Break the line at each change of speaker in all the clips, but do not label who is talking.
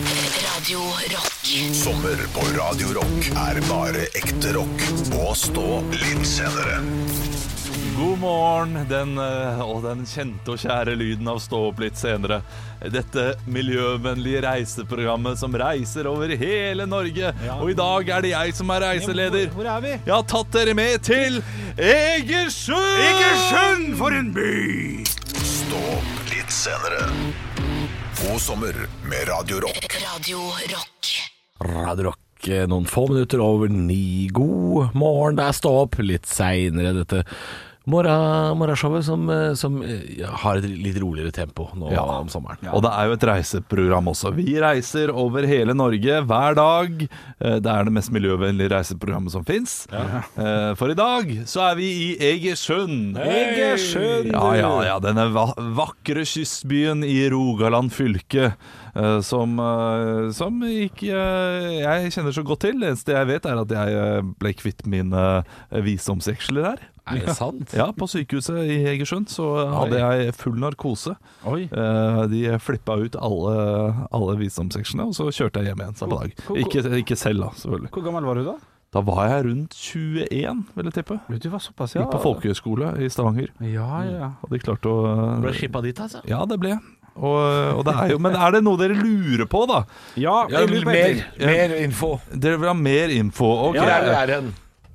Radio Rock.
Sommer på Radio Rock er bare ekte rock. Og stå litt senere.
God morgen, den, eh, å, den kjente og kjære lyden av Stå opp litt senere. Dette miljøvennlige reiseprogrammet som reiser over hele Norge. Og i dag er det jeg som er reiseleder.
Hvor, hvor er vi?
Jeg har tatt dere med til Egersund! Egersund!
for en by!
Stå opp litt senere. God sommer med Radio Rock.
Radio Rock.
Radio Rock eh, noen få minutter over ni. God morgen, det er stå opp litt seinere, dette morgen- morgenshowet som, eh, som eh, har et litt roligere tempo nå
Ja.
om sommeren.
Og det er jo et reiseprogram også. Vi reiser over hele Norge hver dag. Eh, Det er det mest miljøvennlige reiseprogrammet som fins. For i dag så er vi i Egersund.
Egersund!
Ja, ja, ja. Denne va vakre kystbyen i Rogaland fylke. eh, Som, eh, som ikke eh, jeg kjenner så godt til. Det eneste jeg vet, er at jeg eh, ble kvitt mine eh, visdomsjeksler her.
Er det sant?
Ja, på sykehuset i Egersund så hadde jeg full narkose.
Oi.
Eh, de flippa ut alle, alle visdomsseksjonene, og så kjørte jeg hjem igjen samme dag.
Ko- ko-
Ikke, ikke selv, da, selvfølgelig.
Hvor gammel var du da?
Da var jeg rundt 21, vil jeg tippe.
Du var såpass,
Gikk på folkehøyskole i Stavanger.
Ja, ja.
Hadde klart å
Ble skippa dit, altså?
Ja, det ble jeg. Og, og det er jo, men er det noe dere lurer på, da?
Ja, jeg lurer på en ting.
mer info.
Dere vil ha mer info? Ok.
Hvor er det vi er hen?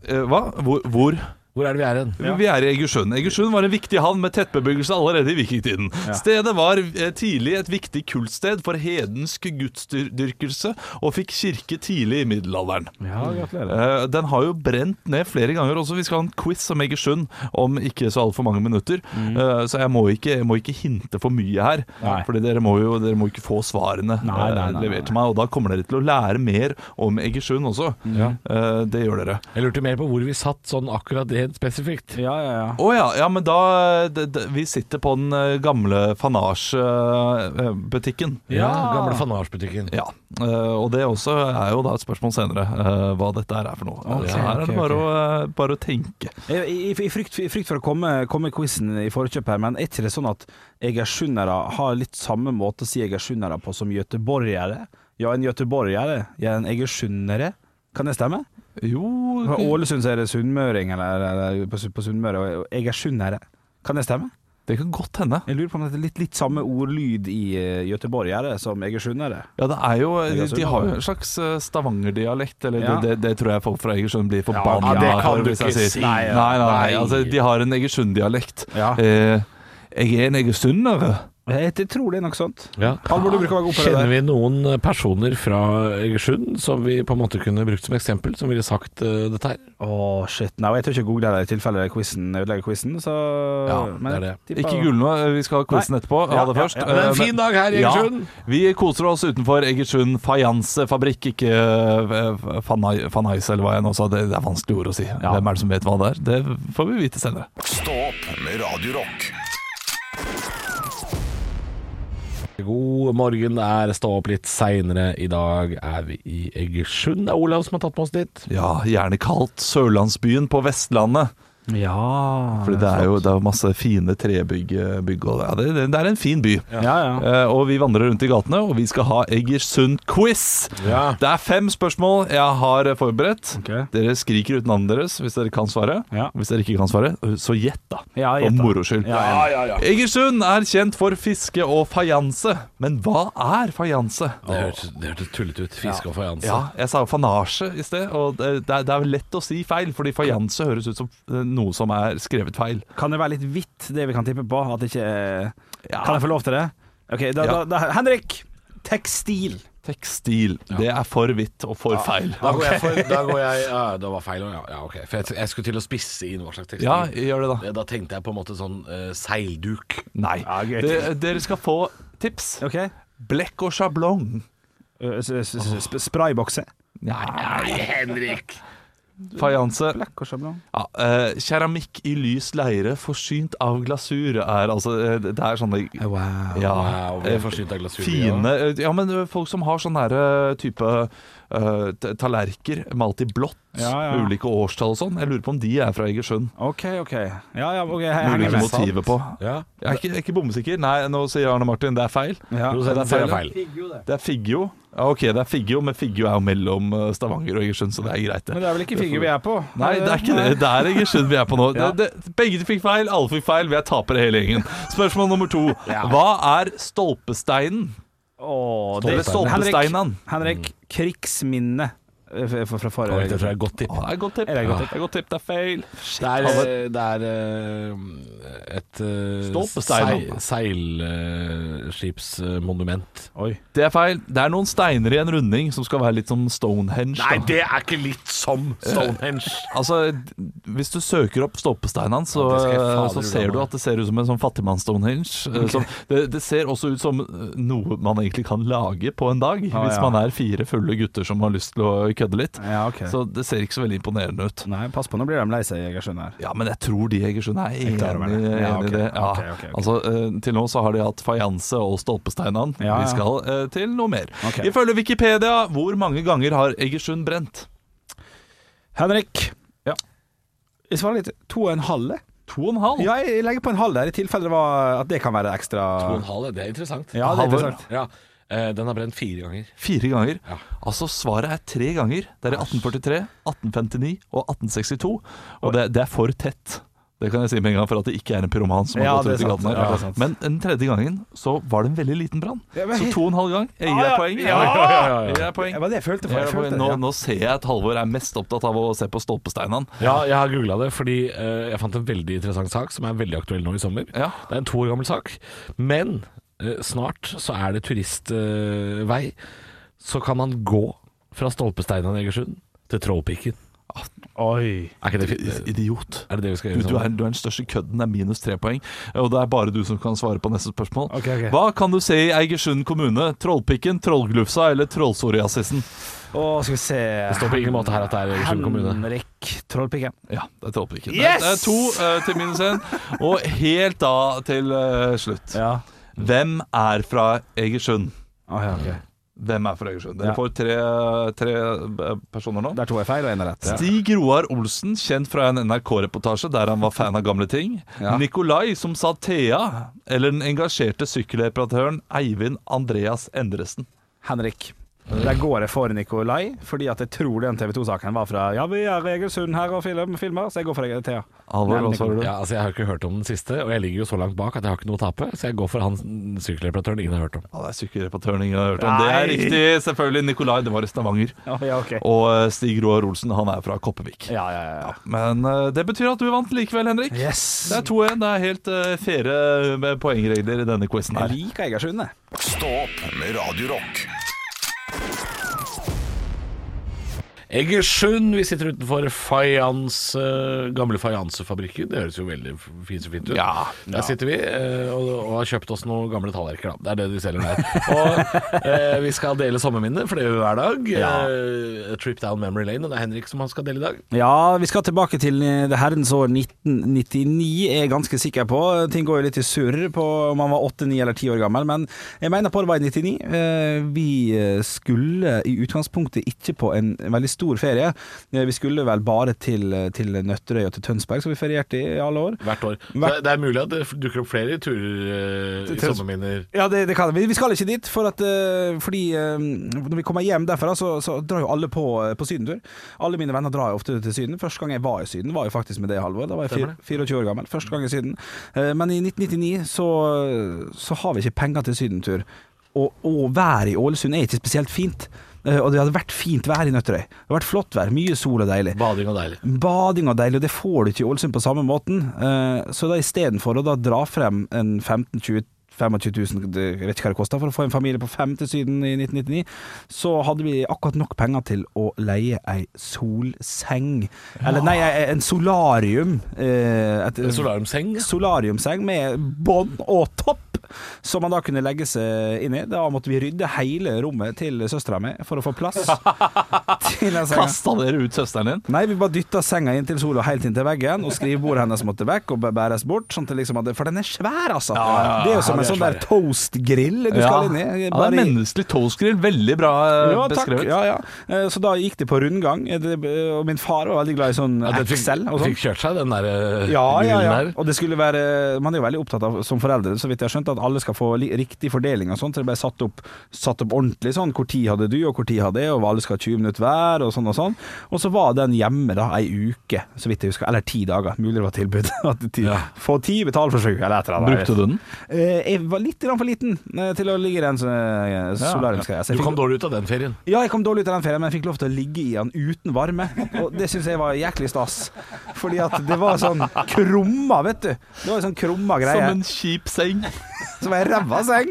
Eh, Hva? Hvor? hvor?
Hvor er det vi er hen?
Ja.
Vi er i Egersund. Egersund var en viktig havn med tettbebyggelse allerede i vikingtiden. Stedet var eh, tidlig et viktig kultsted for hedensk gudsdyrkelse, og fikk kirke tidlig i middelalderen.
Ja, gratulerer.
Eh, Den har jo brent ned flere ganger også. Vi skal ha en quiz om Egersund om ikke så altfor mange minutter. Eh, Så jeg må ikke, jeg må ikke hinte for mye her.
Mm. Nei.
Fordi dere må jo dere må ikke få svarene
Nei, nei,
eh,
nei,
levert til meg. Og da kommer dere til å lære mer om Egersund også. Eh, Det gjør dere.
Jeg lurte mer på hvor vi satt sånn akkurat helt spesifikt.
Ja, ja, ja.
Å ja, ja, men da d, d, Vi sitter på den eh, gamle Fanage-butikken.
Ja, Gamle fanasjbutikken.
Ja, eh, og det også er jo da et spørsmål senere, eh, hva dette her er for noe.
Ok,
Så her er det
ok,
bare, Å, eh, bare å tenke.
Jeg, i, i, frykt, I frykt for å komme, komme quizen i forkjøp her, men er ikke det sånn at egersundere har litt samme måte å si egersundere på som göteborgere? Ja, en göteborgere. Ja, en egersundere. Kan det stemme?
Jo
Fra Ålesund så er det sunnmøring, eller, eller på, på Sunnmøre. og Egersundere. Kan det stemme?
Det kan godt hende.
Jeg lurer på om det er litt, litt samme ordlyd i eh, göteborgere som egersundere.
Ja, det er jo De,
Egersund,
de har jo
da.
en slags eh, stavangerdialekt, eller
Ja.
det, det, det tror jeg folk fra Egersund blir forbanna
ja, det kan
for
du
hvis jeg
ikke
sier.
si.
Nei, nei, nei,
Nei.
Altså, de har en Egersund-dialekt.
Ja.
Eh, jeg er en egersundere.
Jeg, jeg tror det er noe sånt.
Ja.
Halvor, du bruker å være god på det
Kjenner
der.
vi noen personer fra Egersund som vi på en måte kunne brukt som eksempel, som ville sagt eh, dette her?
Å, shit. Nei, jeg tør ikke google det i tilfelle quizen ødelegger quizen, så
Ja,
men
det er
jeg tipper-
Ikke gull nå, vi skal ha quizen
Nei.
etterpå. Ha
Ja,
det
ja,
først.
ja.
Men det er en
Eh,
fin dag her i Egersund.
Ja, vi koser oss utenfor Egersund fajansefabrikk, ikke eh, Fanai- Fanais eller hva jeg nå sa. Det, det er vanskelig ord å si. Hvem er det som vet hva det er? Det får vi vite senere.
Stå opp med Radio Rock.
God morgen, det er stå opp litt seinere. I dag er vi i Egersund. Det er Olav som har tatt med oss dit.
Ja, gjerne kalt Sørlandsbyen på Vestlandet.
Ja
Fordi det er jo det er jo masse fine trebygg eh, bygg, og ja, det, det, det er en fin by.
Ja, ja.
Eh, og vi vandrer rundt i gatene, og vi skal ha Egersund-quiz.
Ja.
Det er fem spørsmål jeg har forberedt.
Ok.
Dere skriker ut navnet deres hvis dere kan svare.
Ja.
Hvis dere ikke kan svare, så gjett, da.
Ja, gjett
For
da.
moro skyld.
Ja, ja.
Egersund er kjent for fiske og fajanse. Men hva er fajanse?
Det hørtes hørte tullete ut. Fiske og fajanse.
Ja, jeg sa fanasje i sted, og det, det er- det er vel lett å si feil, fordi fajanse høres ut som eh, noe som er skrevet feil.
Kan det være litt hvitt, det vi kan tippe på? At det ikke er-
Ja.
Kan jeg få lov til det? Ok, da,
Ja.
da, da Henrik! Tekstil.
Tekstil. Det er for hvitt og for feil.
Da går jeg for da går jeg, ja, Det var feil. Ja, ja ok. For jeg, jeg skulle til å spisse inn hva slags tekstil.
Ja, gjør det, da.
Det- Da tenkte jeg på en måte sånn eh, seilduk.
Nei.
Ja, greit.
Dere, dere skal få tips.
Ok
Blekk og sjablong.
Ø, s- s- s- sp- Spraybokse.
Nei,
Henrik!
fajanse.
Blekk og sjablong.
Ja, eh, keramikk i lys leire forsynt av glasur er altså eh, Det er sånne
Wow.
Ja,
Wow, vi er
eh,
forsynt av glasur. vi, ja.
Fine eh, Ja, men eh, folk som har sånn her eh, type eh, t- tallerker malt i blått,
Ja, ja.
med ulike årstall og sånn. Jeg lurer på om de er fra Egersund.
OK, OK. Ja, ja, ok, jeg
Med
henger
ulike
med.
motiver på.
Ja.
Jeg er ikke, jeg er ikke bombesikker. Nei, nå sier Arne Martin det er feil.
Ja.
Prosenten
det er feil,
sier feil.
Det er Figgjo. Ja, ok, det er Figgjo, men Figgjo er jo mellom eh, Stavanger og Egersund, så det er greit.
Men det er vel ikke figur vi er på?
Nei, det er ikke det. Det er Egersund vi er på nå.
Ja.
Det, det, begge fikk feil, alle fikk feil. Vi er tapere hele gjengen. Spørsmål nummer to. Hva er stolpesteinen?
Åh,
Eller
det- Henrik-
stolpesteinen?
Henrik, krigsminne eh, f- fra, fra
Oi,
forrige
Det tror jeg er et godt tipp.
Å, Mm. det er et godt tipp.
Er det et godt tipp?
Ja, godt tipp. Det er feil.
Det er, eh, det er eh, et eh,
Stolpestein,
sei- eh, seilskipsmonument.
Oi.
Det er feil. Det er noen steiner i en runding som skal være litt som Stonehenge. da.
det er ikke litt som Stonehenge!
Altså, Hvis du søker opp stolpesteinene, så,
Ja, det skal jeg fader
så
ulla
ser du
meg.
at det ser ut som en sånn fattigmanns-Stonehenge. eh, som- Det, det ser også ut som eh, noe man egentlig kan lage på en dag,
Ah,
hvis
ja.
man er fire fulle gutter som har lyst til å kødde litt.
Ja, ok.
Så det ser ikke så veldig imponerende ut.
Nei, pass på, nå blir de lei seg, Egersund her.
Ja, men jeg tror de i Egersund er enig
klar over det.
enig
Ja, ok.
i det. Ja.
Ok, ok, ok.
Altså, eh, til nå så har de hatt fajanse og stolpesteinene.
Ja, ja.
Vi skal eh, til noe mer.
Ok.
Ifølge Wikipedia, hvor mange ganger har Egersund brent?
Henrik.
Ja.
Jeg svarer litt to og en halv. jeg.
To og en halv.
Ja, jeg legger på en halv der, i tilfelle det var at det kan være ekstra
det er interessant.
Ja, det er
Halvor.
interessant.
Ja. Eh, Den har brent fire ganger.
Fire ganger.
Ja.
Altså svaret er tre ganger. Det er i 1843, 1859 og 1862. Og det, det er for tett. Det kan jeg si med en gang, for at det ikke er en pyroman som har
Ja,
gått ut i
det er sant,
gaten her.
ja, det er sant.
Men den tredje gangen så var det en veldig liten brann.
Ja, men
Så
helt-
to og en halv gang. Jeg gir deg poeng. jeg. Jeg gir deg poeng.
Det var det jeg følte. For,
Jeg
jeg
gir deg
følte
poeng. Nå, nå ser jeg at Halvor er mest opptatt av å se på stolpesteinene.
Ja, jeg har googla det fordi eh, jeg fant en veldig interessant sak som er veldig aktuell nå i sommer.
Ja.
Det er en to år gammel sak, men eh, snart så er det turistvei. så kan man gå fra Stolpesteinene i Egersund til Trollpiken.
Oi.
Er ikke det fint?
Idiot.
Er det det vi skal
Du,
gjøre?
du, er,
sammen?
du er den største kødden. Det er minus tre poeng. Og det er bare du som kan svare på neste spørsmål.
Ok, ok.
Hva kan du se i Eigersund kommune? Trollpikken, trollglufsa eller trollsoriasisen?
Å, skal vi se
Det står på ingen måte her at det er Egersund kommune.
Henrik Trollpikken.
Ja, det er trollpikken. Det, er,
Yes!
det er to eh, til minus én. Og helt da til eh, slutt.
Ja.
Hvem er fra Egersund?
Å, ja, ok.
Hvem er fra Egersund?
Ja.
Dere får tre, tre eh, personer nå.
Der to er feil og én er rett. Ja.
Stig Roar Olsen, kjent fra en NRK-reportasje der han var fan av gamle ting.
Ja.
Nikolai som sa Thea, eller den engasjerte sykkelreparatøren Eivind Andreas Endresen.
Henrik. Der går jeg for Nikolai, fordi at jeg tror den TV 2-saken var fra Ja, vi er Egersund her og film, filmer, så jeg går for deg, Thea.
Alvor,
Nei,
hva svarer du?
Ja, altså Jeg har ikke hørt om den siste, og jeg ligger jo så langt bak at jeg har ikke noe å tape. Så jeg går for han sykkelreparatøren ingen har hørt om.
Ja, det er sykkelreparatøren ingen har hørt om. Det er
Nei.
riktig, selvfølgelig. Nikolai, det var i Stavanger.
Å, ja, ok.
Og eh, Stig Roar Olsen, han er fra Koppevik.
Ja, ja, ja.
Men eh, det betyr at du vant likevel, Henrik.
Yes.
Det er 2-1. Det er helt uh, faire med poengregler i denne quizen
Jeg
her.
liker Egersund, jeg.
Stå opp med Radio Rock.
Egersund, vi sitter utenfor fajans, eh, gamle fajansefabrikken. Det høres jo veldig f- fint så fint ut.
Ja,
Der sitter vi eh, og, og har kjøpt oss noen gamle tallerkener. da. Det er det de selger der. Og eh, vi skal dele sommerminner, for det gjør vi hver dag. Eh, a trip down memory lane, og det er Henrik som han skal dele i dag.
Ja, vi skal tilbake til eh, det herrens år 1999, er jeg ganske sikker på. Ting går jo litt i surr på om man var 8, 9 eller 10 år gammel, men jeg mener på det var i 99. Eh, Vi eh, skulle i utgangspunktet ikke på en veldig stor ferie. Eh, Vi skulle vel bare til, eh, til Nøtterøy og til Tønsberg, som vi ferierte i alle år.
Hvert år. Så
Hvert-
det er mulig at det dukker opp flere turer eh, i
Til-
sommerminner.
Ja, det, det kan vi. Vi skal ikke dit, for at, eh, fordi eh, når vi kommer hjem derfra, så, så drar jo alle på, eh, på sydentur. Alle mine venner drar jo ofte til Syden. Første gang jeg var i Syden, var jo faktisk med det Halvor. Da var jeg fir- 24 år gammel. Første gang i Syden. Eh, men i 1999 så, så har vi ikke penger til sydentur. Og, og været i Ålesund er ikke spesielt fint. Eh, og det hadde vært fint vær i Nøtterøy. Det hadde vært flott vær, mye sol og deilig.
Bading og deilig.
Bading og deilig, og det får du ikke i Ålesund på samme måten. Eh, Så da istedenfor å da dra frem en 15 20 25 000, det- jeg vet ikke hva det kosta for å få en familie på fem til Syden i 1999, så hadde vi akkurat nok penger til å leie ei solseng. Eller nei, ei- en solarium. eh, Et,
En solariumseng.
solariumseng med bånd og topp som man da kunne legge seg inn i. Da måtte vi rydde hele rommet til søstera mi for å få plass til den senga.
Kasta dere ut søsteren din?
Nei, vi bare dytta senga inn til sola helt inn til veggen, og skrivebordet hennes måtte vekk og bæ- bæres bort. Sånn til liksom at, for den er svær, altså.
ja, ja.
Det er jo som
Ja,
en
de er
sånn der toastgrill du skal inn i.
ja, det er
i-
menneskelig toastgrill. Veldig bra eh,
ja, takk.
beskrevet.
Ja, ja. Eh, Så da gikk det på rundgang, eh, det- og min far var veldig glad i sånn
den fikk,
Excel og sånn.
fikk kjørt seg, den der eh,
Ja, ja, ja.
grillen der.
Og det skulle være Man er jo veldig opptatt av som foreldre, så vidt jeg har skjønt, at alle skal få li- riktig fordeling og sånn, så det ble satt opp, satt opp ordentlig sånn. Hvor tid hadde du, og hvor tid hadde jeg, og alle skal ha 20 minutter hver, og sånn og sånn. Og så var den hjemme da ei uke, så vidt jeg husker, eller ti dager. Mulig det var tilbud. At det ti,
Ja.
Få ti, betal for sju, eller et eller annet.
Brukte du den?
Eh, Jeg var litt grann for liten eh, til å ligge i den eh, solariumsgreia. så jeg
Du
fikk-
kom dårlig ut av den ferien.
ja, jeg kom dårlig ut av den ferien, men jeg fikk lov til å ligge i den uten varme. Og det syns jeg var jæklig stas. Fordi at det var sånn krumma, vet du. Det var en sånn krumma greie.
Som en kjip seng.
Som ei ræva seng.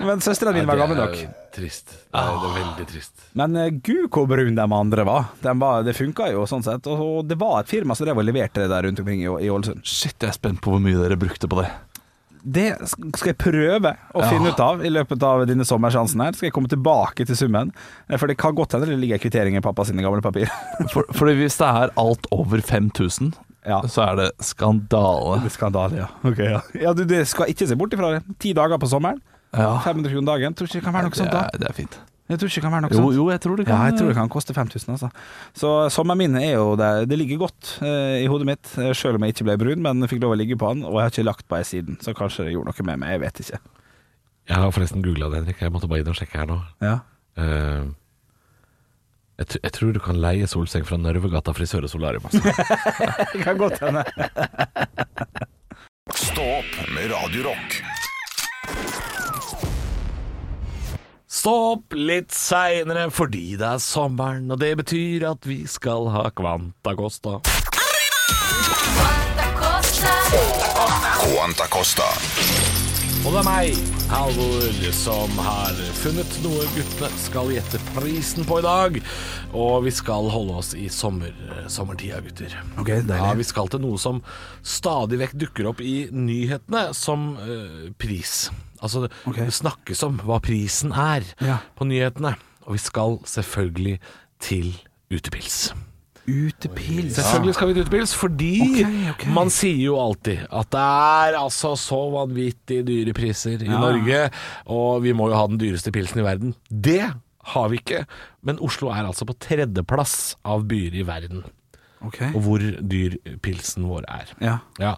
Men søstera mi
Nei,
var
det
gammel
er
nok.
Trist. Det er, det er veldig trist.
Men eh, gud hvor brun de andre var. De var det funka jo sånn sett. Og det var et firma som drev og leverte det der rundt omkring i, i Ålesund.
Shit, jeg er spent på hvor mye dere brukte på det.
Det skal jeg prøve å finne ut av i løpet av denne sommersjansen her. Skal jeg komme tilbake til summen. Eh, For det kan godt hende det ligger en kvittering i pappa sine gamle papir.
For, fordi hvis det er alt over 5000,
Ja.
så er det skandale.
Skandale, ja. ja. du, det skal ikke se bort ifra det. Ti dager på sommeren,
Ja,
500 kroner dagen. Tror ikke det kan være noe
det
sånt da.
er, det er fint.
Jeg tror ikke det kan være noe
Jo,
sånt.
jo, jeg tror det
Ja,
kan
jeg tror det kan koste 5000, altså. Så sommeren min er jo der. Det ligger godt eh, i hodet mitt, eh, selv om jeg ikke ble brun, men fikk lov å ligge på den, og jeg har ikke lagt på ei siden, så kanskje det gjorde noe med meg, jeg vet ikke.
Jeg har forresten googla det, Henrik. Jeg måtte bare inn og sjekke her nå.
Ja.
Eh, jeg, tr- jeg tror du kan leie solseng fra Nørvegata frisør og solarium. Altså.
Det kan godt hende.
Stå opp med Radio Rock.
Stå opp litt seinere fordi det er sommeren, og det betyr at vi skal ha Kvanta Costa.
Quanta Costa.
Og det er meg, Halvor, som har funnet noe guttene skal gjette prisen på i dag. Og vi skal holde oss i sommer, eh, sommertida, gutter.
Ok, deilig.
Ja, vi skal til noe som stadig vekk dukker opp i nyhetene som eh, pris. Altså, det-
Ok.
det snakkes om hva prisen er
Ja.
på nyhetene. Og vi skal selvfølgelig til utepils.
Utepils.
Selvfølgelig skal vi til utepils, fordi
Ok, ok.
man sier jo alltid at det er altså så vanvittig dyre priser i Norge, og vi må jo ha den dyreste pilsen i verden. Det har vi ikke, men Oslo er altså på tredjeplass av byer i verden,
Ok.
og hvor dyr pilsen vår er.
Ja.
Ja.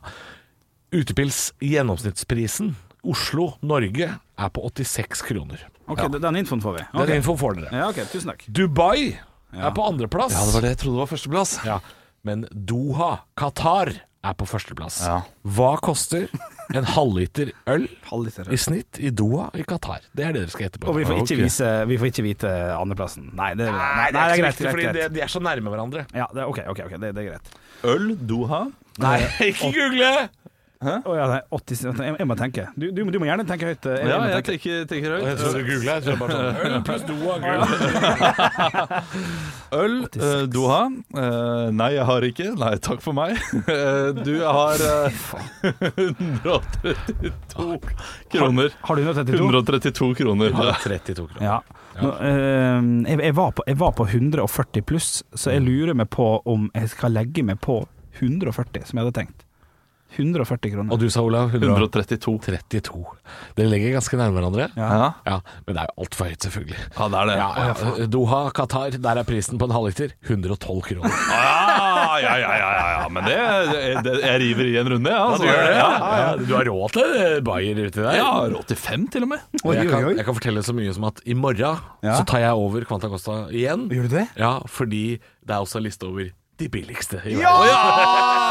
Utepils gjennomsnittsprisen Oslo, Norge, er på 86 kroner.
Ok, den infoen får vi.
Den
Ok.
infoen får dere.
Ja, ok, tusen takk.
Dubai er på andreplass.
Ja, det var det jeg trodde var førsteplass.
Ja, men Doha, Qatar, er på førsteplass. Hva koster en halvliter øl i snitt i Doha i Qatar? Det er det dere skal gjette på.
Og vi får ikke,
Ok.
vise, vi får ikke vite andreplassen. Nei, det,
Nei, det
nei,
er, ikke så
greit,
viktig,
greit,
fordi
greit.
det, de er så nærme hverandre.
Ja, det, ok, ok, ok, det, det er greit.
Øl, Doha.
Nei, ikke google!
Å ja, nei, 80, vent, jeg, jeg må tenke. Du, du, du må gjerne tenke høyt. Jeg,
Ja,
jeg må
jeg
tenke.
tenker, tenker
Jeg
høyt.
tror du googla. Jeg tror bare sånn Øl pluss Doha. Google.
Øl, eh, Doha. Eh, nei, jeg har ikke. Nei, takk for meg. Eh, du har eh, 132 kroner.
Har du 132?
132 kroner.
Ja, 32 kroner.
Ja. Nå, eh, jeg, jeg, var på, jeg var på 140 pluss, så
Mm.
jeg lurer meg på om jeg skal legge meg på 140, som jeg hadde tenkt. 140 kroner.
Og du sa, Olav?
132.
132. Dere ligger ganske nærme hverandre.
Ja,
Ja, Men det er jo altfor høyt, selvfølgelig.
ja det er det.
Ja, ja. Doha, Qatar, der er prisen på en halvliter 112 kroner.
Ah, ja, ja, ja, ja, ja. Men det, det, det Jeg river i en runde, ja. Altså. Ja,
Ja, ja. Du har råd til eh, Bayer uti der?
ja, råd til fem, til og med.
Og jeg,
Oi,
kan,
oi, oi.
jeg kan fortelle så mye som at i morgen
Ja.
så tar jeg over Quanta Costa igjen.
Gjør du det?
Ja, fordi det er også en liste over de billigste i
Ja!
verden.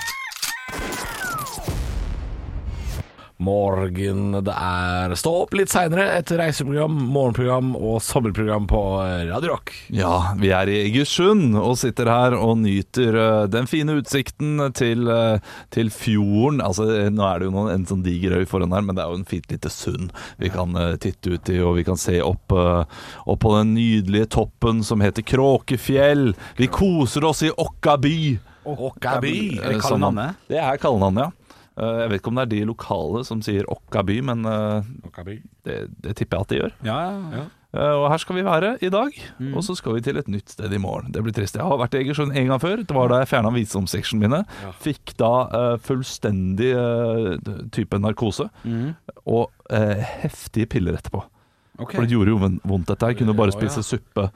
Morgen, det er Stå opp litt seinere. Et reiseprogram, morgenprogram og sommerprogram på eh, Radio Rock.
Ja, vi er i Egersund og sitter her og nyter eh, den fine utsikten til, eh, til fjorden. Altså, eh, nå er det jo noen, en sånn diger øy foran her, men det er jo en fint lite sund vi kan eh, titte ut i, og vi kan se opp, eh, opp på den nydelige toppen som heter Kråkefjell. Vi koser oss i Åkka by.
Åkka by.
Er det
Som han-
kallenavnet?
Det er kallenavnet, ja. Eh, Jeg vet ikke om det er de lokale som sier Okka by, men eh, det, det tipper jeg at de gjør.
Ja, ja. Mm.
Eh, Og her skal vi være i dag, og så skal vi til et nytt sted i morgen. Det blir trist. Jeg har vært i Egersund en gang før. Det var da jeg fjerna visdomsseksjonene mine. Fikk da eh, fullstendig eh, type narkose og eh, heftige piller etterpå.
Mm. Ok.
For det gjorde jo vondt, dette her. Jeg kunne bare spise suppe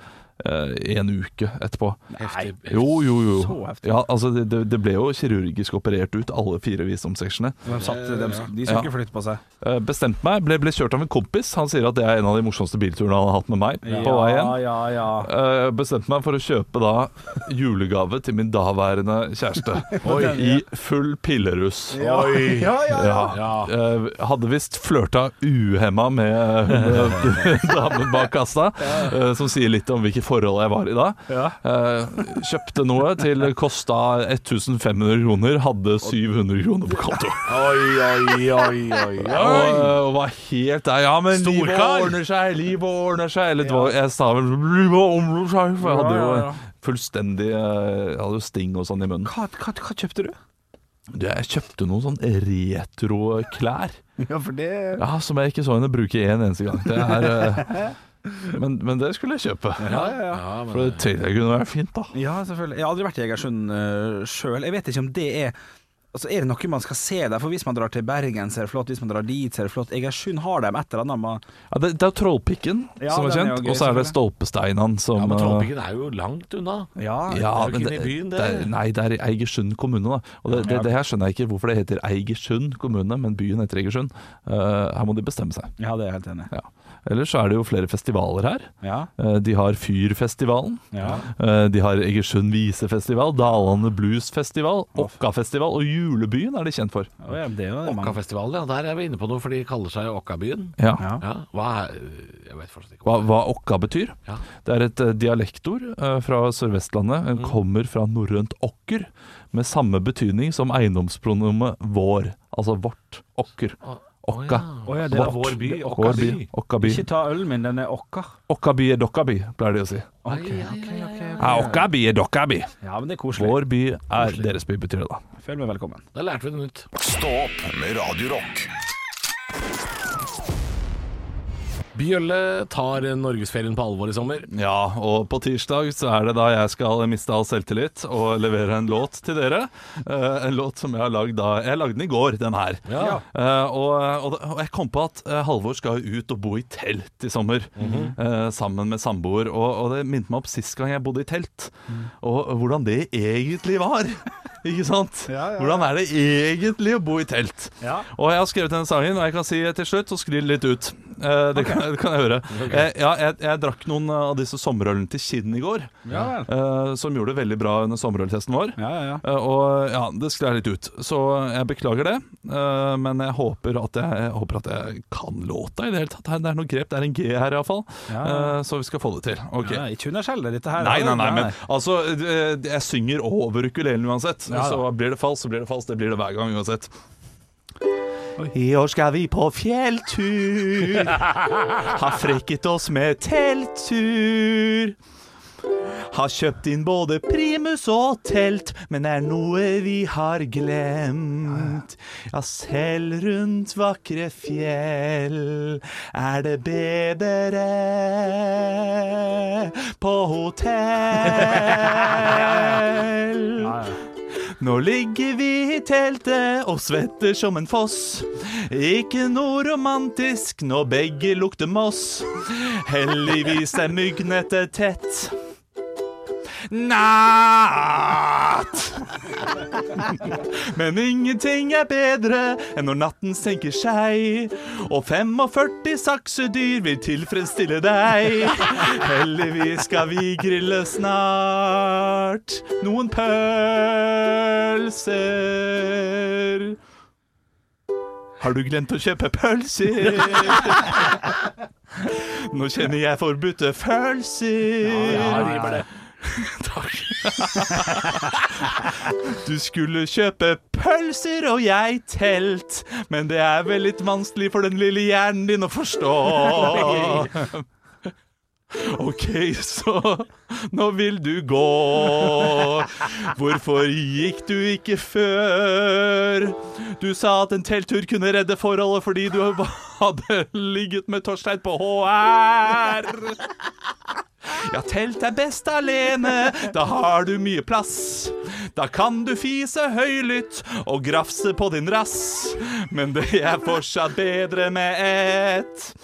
eh, i en uke etterpå.
Heftig.
Jo, jo, jo.
Så heftig.
Ja, altså, det, det- det ble jo kirurgisk operert ut, alle fire visdomsseksjonene.
De, satt, de, de skulle ikke flytte på seg.
Eh, Bestemte meg, ble, ble kjørt av en kompis. Han sier at det er en av de morsomste bilturene han har hatt med meg. På vei hjem.
ja, ja.
Eh, bestemte meg for å kjøpe da julegave til min daværende kjæreste. Oi, I full pillerus.
Oi.
Ja, ja, ja.
Ja.
Eh, hadde visst flørta uhemma med hun eh, damen bak kassa, eh, som sier litt om hvilke forhold jeg var i da. Eh, kjøpte noe til kosta 1500 kroner, hadde 700 kroner på konto.
Oi, oi, oi, oi.
Og, eh, og var helt der. Ja, men livet
Storkar.
ordner seg, livet ordner seg. Eller det var, jeg sa vel livet ordner seg, for jeg hadde
Ja, ja,
jo
ja.
fullstendig eh, Jeg hadde jo sting og sånn i munnen.
Hva, hva, hva kjøpte du?
Du, Jeg kjøpte noen sånn retroklær.
Ja, for det
Ja, som jeg ikke så henne bruke en eneste gang. Det er, eh, men, men det skulle jeg kjøpe. For det tenkte jeg kunne være fint, da.
Ja, selvfølgelig. Jeg har aldri vært i Egersund uh, sjøl. Jeg vet ikke om det er Altså, Er det noe man skal se der? For hvis man drar til Bergen, så er det flott. Hvis man drar dit, så er det flott. Egersund har dem et eller annet. Man,
Ja, det, det er Trollpikken
Ja,
som er
den er jo
kjent, og
gøy,
så er det
selvfølgelig.
Stolpesteinene som
Ja, men
eh,
Trollpikken er jo langt unna.
ja,
ja,
Det er jo
men
ikke
det,
inne i byen,
det,
det.
er- nei, det er i Eigersund kommune, da. Og det, det, det her skjønner jeg ikke hvorfor det heter Eigersund kommune, men byen heter Eigersund. Eh, her må de bestemme seg.
ja, det er jeg helt enig i.
Ja. Ellers så er det jo flere festivaler her.
Ja.
Eh, de har Fyrfestivalen.
Ja.
Eh, de har Egersund visefestival, Dalane bluesfestival, Okkafestival og Julebyen er de kjent for.
Å, ja, det er jo mange.
Okkafestivalen, ja. Der er vi inne på noe, for de kaller seg jo Okkabyen.
Ja.
Ja.
Ja, hva er Jeg vet fortsatt ikke.
Hva, hva okka betyr?
Ja.
Det er et eh, dialektord eh, fra Sør-Vestlandet. Den kommer fra norrønt okker, med samme betydning som eiendomspronomet vår. Altså vårt. Okker. Okka.
Å, ja, det
Det
er
er vår by.
Vår by. Okka by.
Ikke ta ølen min, den er okka.
Okka by er dokka by, pleier de å si. Ja, okka by er dokka by.
Ja, men det er koselig.
Vår by er deres by, betyr det da.
Føl meg velkommen.
Da lærte vi det nytt.
Stå opp med Radio Rock.
Bjølle tar norgesferien på alvor i sommer.
Ja, og på tirsdag så er det da jeg skal miste all selvtillit og levere en låt til dere. Eh, en låt som jeg har lagd da Jeg lagde den i går, den her.
Ja.
Eh, og, og, da- og jeg kom på at eh, Halvor skal jo ut og bo i telt i sommer,
Mhm.
eh, sammen med samboer. Og, og det minte meg opp sist gang jeg bodde i telt,
Mm.
og, og hvordan det egentlig var. Ikke sant?
Ja, ja, ja.
Hvordan er det egentlig å bo i telt?
Ja.
Og jeg har skrevet denne sangen, og jeg kan si til slutt, så skli det litt ut. Eh, det, kan, det kan jeg høre. Eh, ja, jeg, jeg drakk noen av disse sommerølene til Kinn i går,
Ja vel.
eh, som gjorde det veldig bra under sommerøltesten vår.
Ja, ja, ja.
Eh, og ja, det sklei litt ut, så jeg beklager det. eh, men jeg håper, at jeg, jeg håper at jeg kan låta i det hele tatt. Her, Det er noe grep, det er en G her iallfall.
Ja.
Uh, så vi skal få det til. Ok.
Ja, ikke underskjell det, dette her.
Nei, nei, nei, men altså eh, Jeg synger over ukulelen uansett.
Ja, da.
så blir det falskt, så blir det falskt. Det blir det hver gang uansett. I år skal vi på fjelltur. Har frekket oss med telttur. Har kjøpt inn både primus og telt, men er noe vi har glemt. Ja, selv rundt vakre fjell er det bedre på hotell. Nå ligger vi i teltet og svetter som en foss. Ikke noe romantisk når begge lukter moss. Heldigvis er myggnettet tett. Natt! Men ingenting er bedre enn når natten senker seg, og 45 saksedyr vil tilfredsstille deg. Heldigvis skal vi grille snart noen pølser. Har du glemt å kjøpe pølser? Nå kjenner jeg forbudte følelser. Du skulle kjøpe pølser og jeg telt, men det er vel litt vanskelig for den lille hjernen din å forstå. OK, så nå vil du gå. Hvorfor gikk du ikke før? Du sa at en telttur kunne redde forholdet fordi du hadde ligget med Torstein på HR. Ja, telt er best alene, da har du mye plass. Da kan du fise høylytt og grafse på din rass. Men det er fortsatt bedre med ett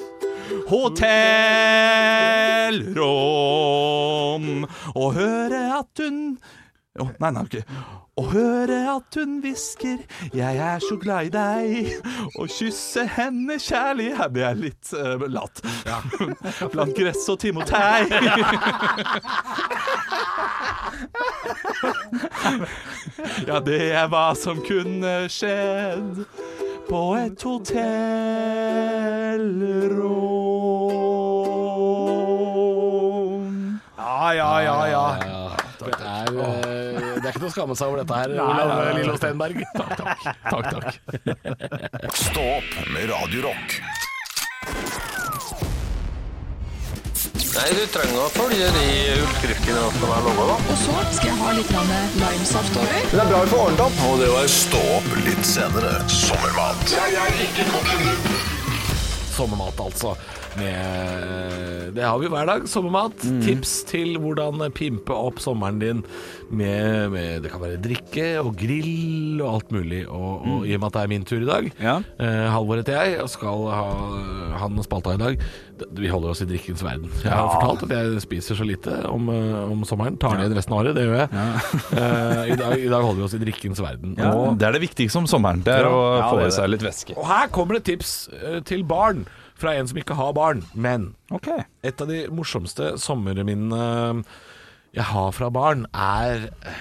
hotellrom. Å høre at hun Å, nei, nei, ok. Å høre at hun hvisker 'jeg er så glad i deg'. Å kysse henne kjærlig Her blir jeg litt uh, lat. Blant gress og timotei. ja, det er hva som kunne skjedd på et hotellrom.
Ja, ja, ja, ja.
Det er, eh, det er ikke noe å skamme seg over dette her, Olav Lillo Stenberg. Takk, takk. takk, takk.
Stå opp med Radio Rock.
Nei, du trenger å følge de utskriftkene som er laga, da.
Og så skal jeg ha litt grann limesaft over.
Det er bra vi får ordnet opp.
Og det var Stå opp litt senere. Sommermat.
Sommermat, altså. Med, det har vi hver dag. Sommermat. Tips til hvordan pimpe opp sommeren din med, med Det kan være drikke og grill og alt mulig. Og, og i og med at det er min tur i dag,
Ja.
eh, Halvor heter jeg, og skal ha han spalta i dag. D- Vi holder oss i drikkens verden. Jeg har fortalt at jeg spiser så lite om, eh, om sommeren. Tar ned resten av året, det gjør jeg. Eh, i, dag, I dag holder vi oss i drikkens verden. Og
Og det er det viktigste om sommeren. Det er å
Ja,
få
det er
i seg litt væske.
Og her kommer det tips eh, til barn fra en som ikke har barn. Men
OK.
et av de morsomste sommerminnene jeg har fra barn, er eh,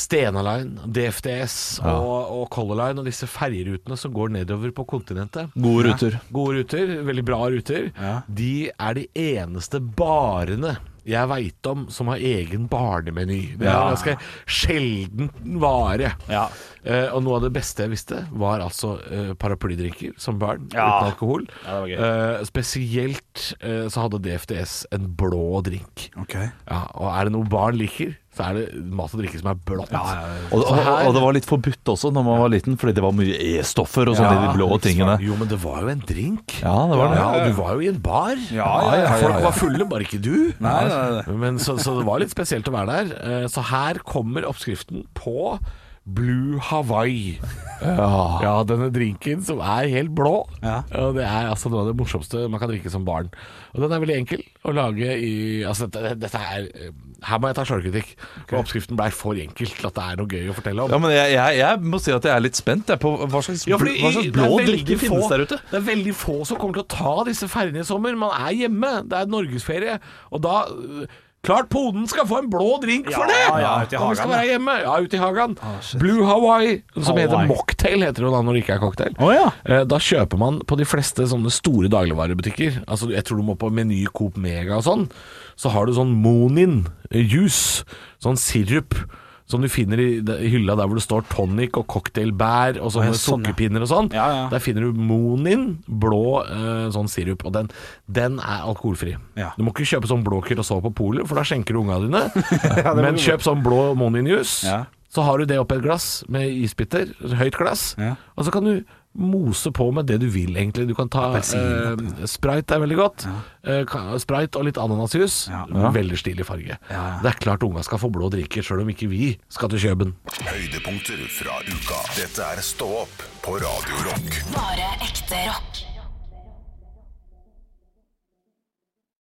Stena Line, DFDS og, og Color Line og disse ferjerutene som går nedover på kontinentet.
Gode ruter.
Gode ruter, veldig bra ruter. De er de eneste barene jeg veit om som har egen barnemeny. Det er en ganske sjelden vare.
Ja.
Eh, og noe av det beste jeg visste, var altså eh, paraplydrinker som barn,
Ja.
uten alkohol.
Ja, det
Eh, spesielt eh, så hadde DFDS en blå drink.
Ok.
Ja, og er det noe barn liker, så er det mat og drikke som er blått.
Og, og,
Så her-
og det var litt forbudt også når man var liten, fordi det var mye E-stoffer og sånne sånn de blå tingene.
Jo, men det var jo en drink.
Ja, det var det.
Ja, og du var jo i en bar.
ja, ja, ja, ja.
Folk var fulle, bare ikke du.
Nei, nei,
Men så, så det var litt spesielt å være der. Eh, Så her kommer oppskriften på Blue Hawaii. Ja. denne drinken som er helt blå.
Ja.
Og det er altså noe av det morsomste man kan drikke som barn. Og den er veldig enkel å lage i Altså, dette, dette er eh, Her må jeg ta sjølkritikk. Oppskriften blei for enkel til at det er noe gøy å fortelle om.
Ja, men jeg, jeg, jeg må si at jeg er litt spent jeg, på hva slags,
Ja,
bl-
fordi
hva slags
det er
blå
veldig
drikke
få-
finnes der ute.
Det er veldig få som kommer til å ta disse ferjene i sommer. Man er hjemme, det er norgesferie. Og da øh, Klart poden skal få en blå drink for det!
ja, ute i
Om vi skal
hagen,
være hjemme. Ja, ute i hagen.
Ah,
Blue Hawaii, som heter
Hawaii.
mocktail, heter det jo da når det ikke er cocktail.
Å, ja.
Eh, Da kjøper man på de fleste sånne store dagligvarebutikker. Altså Jeg tror du må på Meny, Coop Mega og sånn. Så har du sånn Monin eh, juice, sånn sirup. Som du finner i i hylla der hvor det står tonic og cocktailbær og sånne
sånn, ja.
sukkerpinner og sånn.
Ja, ja.
Der finner du Monin, blå eh, sånn sirup, og den, den er alkoholfri.
Ja.
Du må ikke kjøpe sånn blå Curacao på polet, for da skjenker du unga dine. Men kjøp sånn blå Monin-juice,
Ja.
så har du det oppi et glass med isbiter, høyt glass,
Ja.
og så kan du mose på med det du vil, egentlig. Du kan ta eh, Sprite er veldig godt. Eh, ka- sprite og litt ananasjus. Veldig stilig farge. Det er klart unga skal få blå drikker, sjøl om ikke vi skal til Kjøben.
Høydepunkter fra uka. Dette er Stå opp på Radio Rock.
Bare ekte rock.